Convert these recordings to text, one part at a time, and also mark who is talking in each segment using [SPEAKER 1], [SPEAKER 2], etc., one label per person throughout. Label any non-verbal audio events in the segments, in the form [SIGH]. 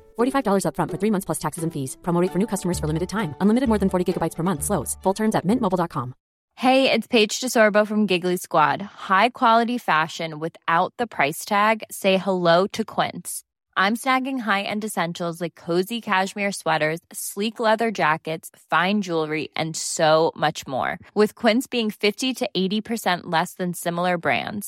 [SPEAKER 1] $45 upfront for three months plus taxes and fees. Promo rate for new customers for limited time. Unlimited more than 40 gigabytes per month. Slows. Full terms at mintmobile.com.
[SPEAKER 2] Hey, it's Paige DeSorbo from Giggly Squad. High quality fashion without the price tag. Say hello to Quince. I'm snagging high-end essentials like cozy cashmere sweaters, sleek leather jackets, fine jewelry, and so much more. With Quince being 50 to 80% less than similar brands.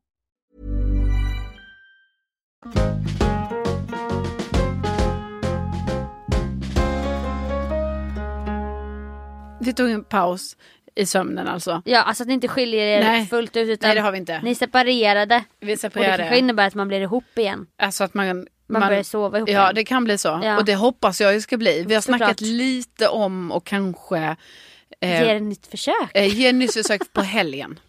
[SPEAKER 3] Vi tog en paus i I sömnen alltså.
[SPEAKER 4] Ja, alltså att ni inte skiljer er
[SPEAKER 3] Nej.
[SPEAKER 4] fullt ut. Utan
[SPEAKER 3] Nej, det har vi inte.
[SPEAKER 4] Ni är separerade.
[SPEAKER 3] Vi är
[SPEAKER 4] Och
[SPEAKER 3] separerade.
[SPEAKER 4] det kanske innebär att man blir ihop igen.
[SPEAKER 3] Alltså att man...
[SPEAKER 4] Man börjar sova ihop
[SPEAKER 3] Ja,
[SPEAKER 4] igen.
[SPEAKER 3] det kan bli så.
[SPEAKER 4] Ja.
[SPEAKER 3] Och det hoppas jag ju ska bli. Vi har
[SPEAKER 4] Såklart.
[SPEAKER 3] snackat lite om och kanske...
[SPEAKER 4] Ger ett nytt försök.
[SPEAKER 3] Eh, ge ett nytt försök på helgen.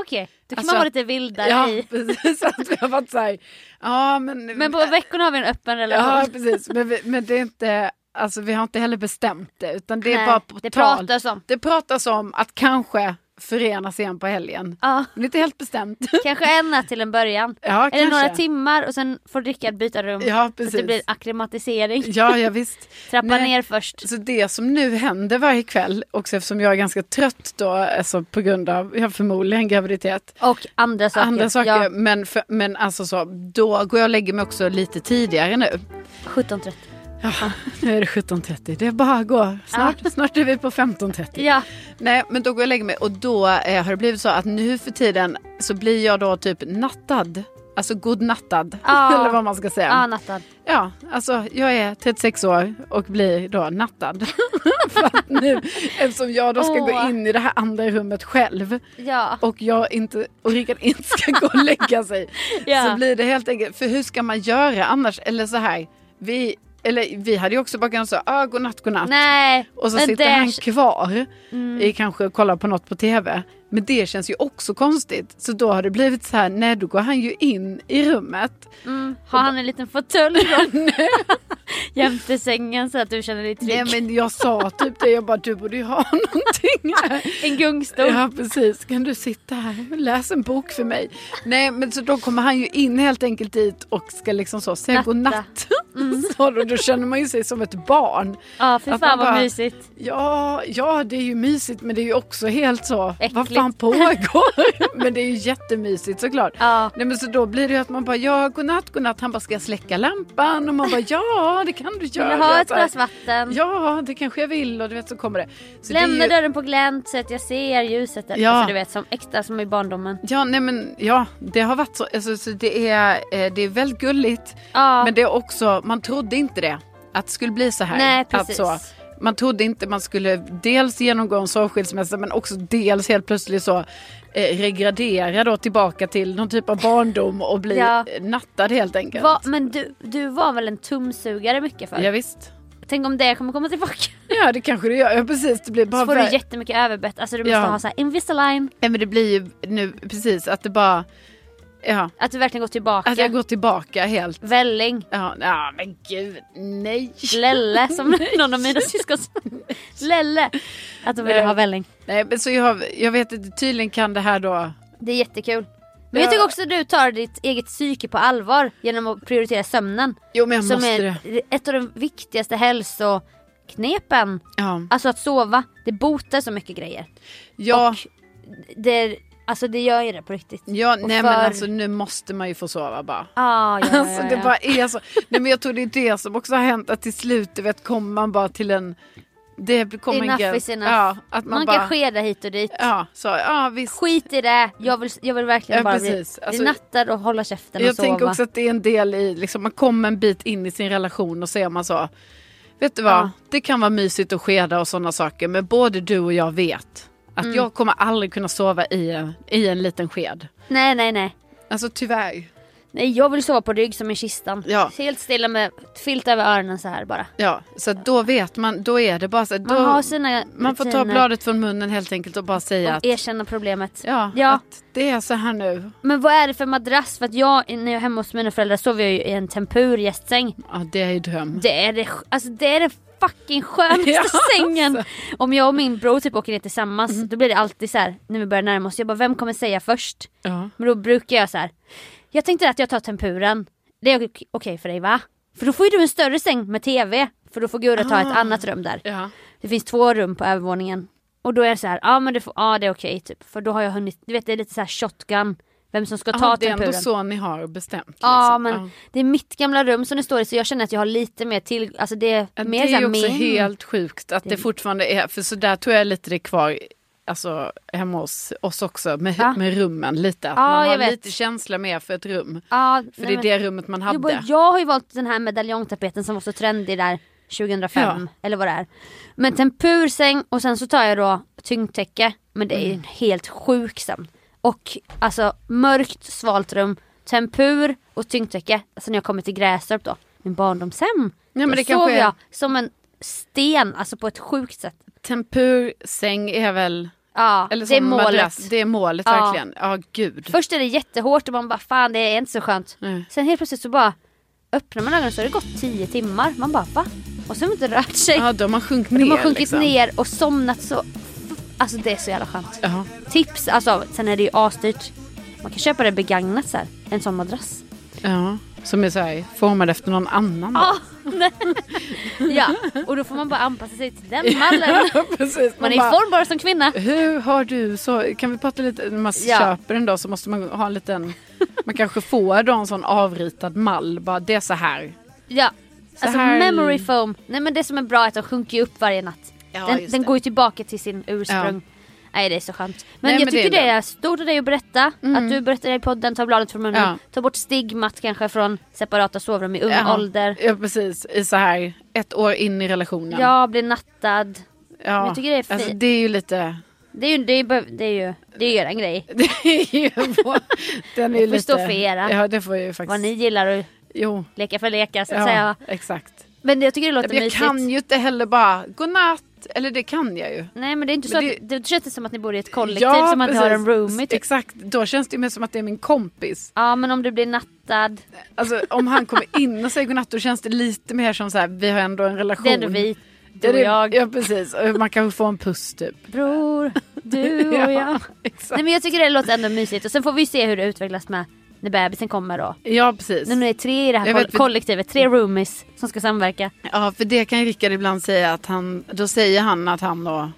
[SPEAKER 4] Okej, då kan
[SPEAKER 3] Alltså-
[SPEAKER 4] man vara lite vildare
[SPEAKER 3] ja,
[SPEAKER 4] i.
[SPEAKER 3] [LAUGHS] precis. Att vi har varit så här, ja, men,
[SPEAKER 4] Men på veckorna har vi en öppen relation.
[SPEAKER 3] Ja, precis. Men, vi, men det är inte... Alltså vi har inte heller bestämt det utan det är
[SPEAKER 4] Nej,
[SPEAKER 3] bara på
[SPEAKER 4] det
[SPEAKER 3] tal.
[SPEAKER 4] pratas om.
[SPEAKER 3] Det pratas om att kanske förenas igen på helgen.
[SPEAKER 4] Ja.
[SPEAKER 3] Men det är inte helt bestämt.
[SPEAKER 4] Kanske en natt till en början.
[SPEAKER 3] [LAUGHS] Ja,
[SPEAKER 4] Eller
[SPEAKER 3] kanske.
[SPEAKER 4] några timmar och sen får Rickard byta rum.
[SPEAKER 3] Ja,
[SPEAKER 4] Så att
[SPEAKER 3] precis.
[SPEAKER 4] det blir en akklimatisering.
[SPEAKER 3] Ja, ja visst.
[SPEAKER 4] Trappa
[SPEAKER 3] Nej.
[SPEAKER 4] ner först.
[SPEAKER 3] Så det som nu händer varje kväll, också eftersom jag är ganska trött då, alltså på grund av, jag har förmodligen graviditet,
[SPEAKER 4] Och andra saker.
[SPEAKER 3] andra saker,
[SPEAKER 4] Ja,
[SPEAKER 3] men, för, men alltså så, då går jag och lägger mig också lite tidigare nu.
[SPEAKER 4] 17.30.
[SPEAKER 3] Nu är det 17.30, det är bara att gå. Snart, snart är vi på 15.30.
[SPEAKER 4] Ja,
[SPEAKER 3] Nej, men då går jag och lägger mig och då eh, har det blivit så att nu för tiden så blir jag då typ nattad. Alltså godnattad, [LAUGHS]
[SPEAKER 4] Ja.
[SPEAKER 3] eller vad man ska säga.
[SPEAKER 4] ja natten.
[SPEAKER 3] Ja, alltså jag är 36 år och blir då nattad. [LAUGHS] För att nu, eftersom jag då ska
[SPEAKER 4] Åh.
[SPEAKER 3] gå in i det här andra rummet själv
[SPEAKER 4] Ja.
[SPEAKER 3] och, jag inte, och Rickard inte ska gå och lägga sig.
[SPEAKER 4] [LAUGHS] Ja.
[SPEAKER 3] Så blir det helt enkelt, för hur ska man göra annars? Eller så här, vi, eller, vi hade ju också bara kunnat säga ah, godnatt, godnatt.
[SPEAKER 4] Nej,
[SPEAKER 3] Och så
[SPEAKER 4] men Mm.
[SPEAKER 3] sitter
[SPEAKER 4] där-
[SPEAKER 3] han kvar i kanske och kollar på något på tv. Men det känns ju också konstigt. Så då har det blivit så här, nej då går han ju in i rummet.
[SPEAKER 4] Har han en
[SPEAKER 3] [LAUGHS]
[SPEAKER 4] liten fåtölj då? [LAUGHS] Jämte sängen så att du känner dig
[SPEAKER 3] Nej
[SPEAKER 4] trygg.
[SPEAKER 3] men jag sa typ det, jag bara du borde ju ha [LAUGHS] någonting här.
[SPEAKER 4] [LAUGHS] En gungstol.
[SPEAKER 3] Ja precis, kan du sitta här och läsa en bok för mig? Nej men så då kommer han ju in helt enkelt dit och ska liksom så säga
[SPEAKER 4] Natta. Mm.
[SPEAKER 3] godnatt. [LAUGHS] Så då, då känner man ju sig som ett barn.
[SPEAKER 4] Ja, fy
[SPEAKER 3] Att
[SPEAKER 4] fan
[SPEAKER 3] man
[SPEAKER 4] vad
[SPEAKER 3] bara-
[SPEAKER 4] mysigt.
[SPEAKER 3] Ja, ja det är ju mysigt men det är ju också helt så, vad
[SPEAKER 4] Äckligt.
[SPEAKER 3] fan pågår? [LAUGHS] men det är ju jättemysigt såklart.
[SPEAKER 4] Ja.
[SPEAKER 3] Nej men så då blir det ju att man bara ja godnatt, godnatt. Han bara ska jag släcka lampan? Och man bara ja det kan du
[SPEAKER 4] Vill
[SPEAKER 3] göra.
[SPEAKER 4] du ha ett
[SPEAKER 3] Så här,
[SPEAKER 4] glas vatten?
[SPEAKER 3] Ja det kanske jag vill och du vet så kommer det. Så det är
[SPEAKER 4] Lämna
[SPEAKER 3] ju-
[SPEAKER 4] dörren på glänt så att jag ser ljuset. där.
[SPEAKER 3] Ja.
[SPEAKER 4] Alltså, du vet, som äkta som i barndomen.
[SPEAKER 3] Ja, nej men ja, det har varit så. Alltså, så det, är, eh, det är väldigt gulligt.
[SPEAKER 4] Ja.
[SPEAKER 3] Men det är också, man trodde inte det. Att det skulle bli så här.
[SPEAKER 4] Nej,
[SPEAKER 3] att
[SPEAKER 4] precis.
[SPEAKER 3] så, man trodde inte man skulle dels genomgå en sorgskilsmässa men också dels helt plötsligt så eh, regradera då tillbaka till någon typ av barndom och bli
[SPEAKER 4] Ja.
[SPEAKER 3] eh, nattad helt enkelt.
[SPEAKER 4] Va, men du, du var väl en tumsugare mycket förr?
[SPEAKER 3] Ja, visst.
[SPEAKER 4] Tänk om det kommer komma tillbaka.
[SPEAKER 3] Ja det kanske det gör. Ja precis. Det blir bara
[SPEAKER 4] Så får
[SPEAKER 3] vär-
[SPEAKER 4] du jättemycket överbett. Alltså du måste
[SPEAKER 3] Ja.
[SPEAKER 4] ha så här Invisalign.
[SPEAKER 3] ja, men det blir ju nu precis att det bara, ja.
[SPEAKER 4] Att du verkligen går tillbaka.
[SPEAKER 3] Att jag går tillbaka helt.
[SPEAKER 4] Välling.
[SPEAKER 3] Ja, ja men gud, nej.
[SPEAKER 4] [LAUGHS] Lelle som
[SPEAKER 3] Nej.
[SPEAKER 4] någon av mina syskon sa. Lelle. Att de ville
[SPEAKER 3] Nej.
[SPEAKER 4] ha välling.
[SPEAKER 3] Nej, men så jag, jag vet inte, tydligen kan det här då...
[SPEAKER 4] Det är jättekul.
[SPEAKER 3] Ja.
[SPEAKER 4] Men jag tycker också att du tar ditt eget psyke på allvar genom att prioritera sömnen.
[SPEAKER 3] Jo, men jag
[SPEAKER 4] som
[SPEAKER 3] måste
[SPEAKER 4] är
[SPEAKER 3] det.
[SPEAKER 4] ett av de viktigaste hälsoknepen.
[SPEAKER 3] Ja.
[SPEAKER 4] Alltså att sova, det botar så mycket grejer.
[SPEAKER 3] Ja,
[SPEAKER 4] Det, alltså det gör ju det på riktigt.
[SPEAKER 3] ja
[SPEAKER 4] och
[SPEAKER 3] nej men
[SPEAKER 4] för-
[SPEAKER 3] alltså nu måste man ju få sova bara.
[SPEAKER 4] Ah, ja, ja, ja,
[SPEAKER 3] Alltså
[SPEAKER 4] ja.
[SPEAKER 3] det bara är så. Nej men jag tror det är det som också har hänt att till slut du vet kommer man bara till en... Det kommer en
[SPEAKER 4] Enough
[SPEAKER 3] gräns.
[SPEAKER 4] is enough.
[SPEAKER 3] Ja, att man,
[SPEAKER 4] man
[SPEAKER 3] bara...
[SPEAKER 4] kan skeda hit och dit.
[SPEAKER 3] Ja, så, ja visst.
[SPEAKER 4] Skit i det, jag vill, jag vill verkligen
[SPEAKER 3] Ja,
[SPEAKER 4] bara
[SPEAKER 3] precis.
[SPEAKER 4] bli,
[SPEAKER 3] Alltså-
[SPEAKER 4] bli nattad och hålla käften och
[SPEAKER 3] Jag
[SPEAKER 4] sova.
[SPEAKER 3] tänker också att det är en del i, liksom, man kommer en bit in i sin relation och så är man så, vet du vad,
[SPEAKER 4] Ja.
[SPEAKER 3] det kan vara mysigt att skeda och sådana saker, men både du och jag vet att
[SPEAKER 4] Mm.
[SPEAKER 3] jag kommer aldrig kunna sova i en, i en liten sked.
[SPEAKER 4] Nej nej nej.
[SPEAKER 3] Alltså tyvärr.
[SPEAKER 4] Nej jag vill sova på rygg som i kistan.
[SPEAKER 3] Ja.
[SPEAKER 4] Helt stilla med filt över öronen så här bara.
[SPEAKER 3] Ja, så att då vet man, då är det bara så, då,
[SPEAKER 4] Man har sina
[SPEAKER 3] man får ta
[SPEAKER 4] rutiner
[SPEAKER 3] bladet från munnen helt enkelt och bara säga att,
[SPEAKER 4] och erkänna problemet.
[SPEAKER 3] ja,
[SPEAKER 4] ja.
[SPEAKER 3] att det är så här nu.
[SPEAKER 4] Men vad är det för madrass? För att jag, när jag är hemma hos mina föräldrar sover jag ju i en tempur gästsäng.
[SPEAKER 3] Ja, det är ju dröm.
[SPEAKER 4] Det är det, sj- alltså det är den fucking
[SPEAKER 3] [LAUGHS]
[SPEAKER 4] skönaste
[SPEAKER 3] Ja, alltså.
[SPEAKER 4] sängen. Om jag och min bror typ åker ner tillsammans
[SPEAKER 3] Mm.
[SPEAKER 4] då blir det alltid så här när vi börjar närma oss. Jag bara vem kommer säga först?
[SPEAKER 3] Ja.
[SPEAKER 4] Men då brukar jag så här. Jag tänkte att jag tar tempuren. Det är ok- okej för dig va? För då får ju du en större säng med tv. För då får Gurra ta ett annat rum där.
[SPEAKER 3] Ah. Ja.
[SPEAKER 4] Det finns två rum på övervåningen. Och då är det så här, ja men det, får, ja, det är okej typ. För då har jag hunnit, du vet det är lite så här shotgun. Vem som ska ta
[SPEAKER 3] Ja, det är
[SPEAKER 4] tempuren.
[SPEAKER 3] ändå så ni har bestämt. Liksom.
[SPEAKER 4] Ja men det är mitt gamla rum som det står i så jag känner att jag har lite mer till, alltså det är
[SPEAKER 3] Ja,
[SPEAKER 4] mer
[SPEAKER 3] det är ju
[SPEAKER 4] såhär
[SPEAKER 3] också
[SPEAKER 4] min. Mm.
[SPEAKER 3] helt sjukt att det,
[SPEAKER 4] Det-
[SPEAKER 3] fortfarande är, för så där tror jag lite det är kvar alltså, hemma hos oss också med,
[SPEAKER 4] Ja.
[SPEAKER 3] med rummen lite. Att
[SPEAKER 4] Ja,
[SPEAKER 3] man har
[SPEAKER 4] jag vet.
[SPEAKER 3] lite känsla mer för ett rum.
[SPEAKER 4] Ja,
[SPEAKER 3] För
[SPEAKER 4] nej,
[SPEAKER 3] det är
[SPEAKER 4] men-
[SPEAKER 3] det rummet man hade.
[SPEAKER 4] Jo, men jag har ju valt den här medaljongtapeten som var så trendig där 2005 eller vad det är. Men tempursäng och sen så tar jag då tyngdtäcke Men det är
[SPEAKER 3] Mm.
[SPEAKER 4] ju en helt sjuk sömn. Och alltså mörkt, svalt rum, tempur och tyngdtäcke. Alltså när jag kommer till Grästorp då, min barndomshem.
[SPEAKER 3] men
[SPEAKER 4] då
[SPEAKER 3] det
[SPEAKER 4] sov
[SPEAKER 3] kanske är-
[SPEAKER 4] jag som en sten, alltså på ett sjukt sätt.
[SPEAKER 3] Tempur, säng är väl...
[SPEAKER 4] Ja,
[SPEAKER 3] Eller
[SPEAKER 4] det är
[SPEAKER 3] som
[SPEAKER 4] målet.
[SPEAKER 3] madrass. Det är målet
[SPEAKER 4] Ja.
[SPEAKER 3] verkligen. Ja, gud.
[SPEAKER 4] Först är det jättehårt och man bara fan det är inte så skönt. Sen helt plötsligt så bara öppnar man ögonen så har det gått 10 timmar. Man bara va? Och så har de inte rört sig.
[SPEAKER 3] Ja, de har sjunkit
[SPEAKER 4] De har
[SPEAKER 3] ner,
[SPEAKER 4] sjunkit
[SPEAKER 3] liksom.
[SPEAKER 4] ner och somnat så. Alltså det är så jävla skönt.
[SPEAKER 3] Ja.
[SPEAKER 4] Tips, alltså sen är det ju asdyrt. Man kan köpa det begagnat så här. En sån madrass.
[SPEAKER 3] Ja, som är så här, formad efter någon annan.
[SPEAKER 4] Ja, Ja, och då får man bara anpassa sig till den mallen.
[SPEAKER 3] [LAUGHS] Precis,
[SPEAKER 4] man är i form bara som kvinna.
[SPEAKER 3] Hur har du så, kan vi prata lite, när man
[SPEAKER 4] Ja.
[SPEAKER 3] köper en dag så måste man ha en liten, man kanske får då en sån avritad mall, bara det är så här.
[SPEAKER 4] Ja.
[SPEAKER 3] Så
[SPEAKER 4] Alltså
[SPEAKER 3] här-
[SPEAKER 4] memory foam. Nej men det som är bra är att de sjunker ju upp varje natt.
[SPEAKER 3] Ja,
[SPEAKER 4] den
[SPEAKER 3] just
[SPEAKER 4] den
[SPEAKER 3] det.
[SPEAKER 4] går ju tillbaka till sin ursprung. Nej det är så skönt. Men
[SPEAKER 3] Nej,
[SPEAKER 4] jag
[SPEAKER 3] men det är
[SPEAKER 4] tycker det är,
[SPEAKER 3] bra. Mm.
[SPEAKER 4] stort av dig att berätta. Att du berättar det i podden, ta bladet från munnen.
[SPEAKER 3] Ja.
[SPEAKER 4] Ta bort stigmat kanske från separata sovrum i ung
[SPEAKER 3] Ja.
[SPEAKER 4] ålder.
[SPEAKER 3] Ja precis, i så här, ett år in i relationen.
[SPEAKER 4] Ja, bli nattad.
[SPEAKER 3] Ja.
[SPEAKER 4] men jag tycker det är
[SPEAKER 3] alltså,
[SPEAKER 4] fint.
[SPEAKER 3] det är ju lite, [LAUGHS]
[SPEAKER 4] Det är ju, det är, ju- det är ju, det är ju en grej.
[SPEAKER 3] det är ju vår, den är ju
[SPEAKER 4] Det får
[SPEAKER 3] lite.
[SPEAKER 4] stå för era.
[SPEAKER 3] Ja det får ju faktiskt.
[SPEAKER 4] Vad ni gillar att
[SPEAKER 3] Jo.
[SPEAKER 4] leka för leka så att
[SPEAKER 3] Ja,
[SPEAKER 4] säga.
[SPEAKER 3] exakt.
[SPEAKER 4] Men jag tycker det låter
[SPEAKER 3] Jag
[SPEAKER 4] mysigt.
[SPEAKER 3] kan ju inte heller bara, godnatt, eller det kan jag ju.
[SPEAKER 4] Nej men det är inte så
[SPEAKER 3] Men
[SPEAKER 4] att, det känns som att ni bor i ett kollektiv som att ni har en
[SPEAKER 3] precis.
[SPEAKER 4] roomie typ.
[SPEAKER 3] Exakt, då känns det ju mer som att det är min kompis.
[SPEAKER 4] Ja men om du blir nattad.
[SPEAKER 3] Alltså om han kommer in och säger godnatt då känns det lite mer som så här, vi har ändå en relation.
[SPEAKER 4] Det är ändå vi,
[SPEAKER 3] Ja,
[SPEAKER 4] du och
[SPEAKER 3] det-
[SPEAKER 4] jag.
[SPEAKER 3] Ja precis, Och man kanske får en puss typ.
[SPEAKER 4] Bror,
[SPEAKER 3] [LAUGHS]
[SPEAKER 4] du och jag.
[SPEAKER 3] Exakt.
[SPEAKER 4] Nej men jag tycker det låter ändå mysigt och sen får vi se hur det utvecklas med när bebisen kommer då.
[SPEAKER 3] Ja precis.
[SPEAKER 4] När ni är tre i det här
[SPEAKER 3] Jag
[SPEAKER 4] koll-
[SPEAKER 3] vet, för-
[SPEAKER 4] kollektivet, tre roomies som ska samverka.
[SPEAKER 3] Ja för det kan Rickard ibland säga att han, då säger han att han då,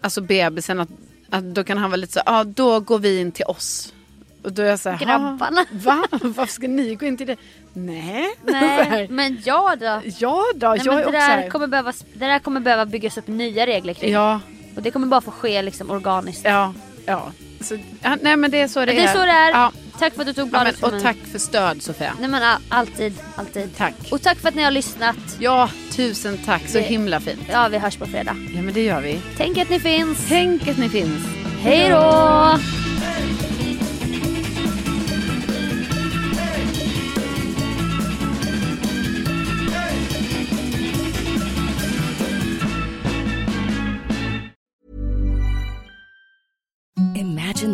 [SPEAKER 3] alltså bebisen att, att då kan han vara lite så ja ah, då går vi in till oss. Och då är jag så här,
[SPEAKER 4] Grabbarna.
[SPEAKER 3] "Ha, Va? Varför ska ni gå in till det? [LAUGHS] Nej. [LAUGHS] Så
[SPEAKER 4] Nej
[SPEAKER 3] här,
[SPEAKER 4] men jag då?
[SPEAKER 3] Ja då,
[SPEAKER 4] Nej,
[SPEAKER 3] jag är
[SPEAKER 4] men det,
[SPEAKER 3] också så här,
[SPEAKER 4] där kommer behöva, det där kommer behöva byggas upp nya regler kring.
[SPEAKER 3] Ja,
[SPEAKER 4] Och det kommer bara få ske liksom organiskt.
[SPEAKER 3] Ja, ja. Så, ja nej men det är så det,
[SPEAKER 4] Det är så det är.
[SPEAKER 3] Ja,
[SPEAKER 4] Tack för att du tog
[SPEAKER 3] ja,
[SPEAKER 4] bladet
[SPEAKER 3] men,
[SPEAKER 4] från
[SPEAKER 3] och
[SPEAKER 4] mig.
[SPEAKER 3] tack för stöd Sofia.
[SPEAKER 4] Nej men a- alltid, alltid.
[SPEAKER 3] Tack.
[SPEAKER 4] Och tack för att ni har lyssnat.
[SPEAKER 3] Ja, tusen tack. Så
[SPEAKER 4] Det-
[SPEAKER 3] himla fint.
[SPEAKER 4] Ja vi hörs på fredag.
[SPEAKER 3] Ja men det gör vi.
[SPEAKER 4] Tänk att ni finns.
[SPEAKER 3] Tänk att ni finns.
[SPEAKER 4] Hej då!
[SPEAKER 5] Imagine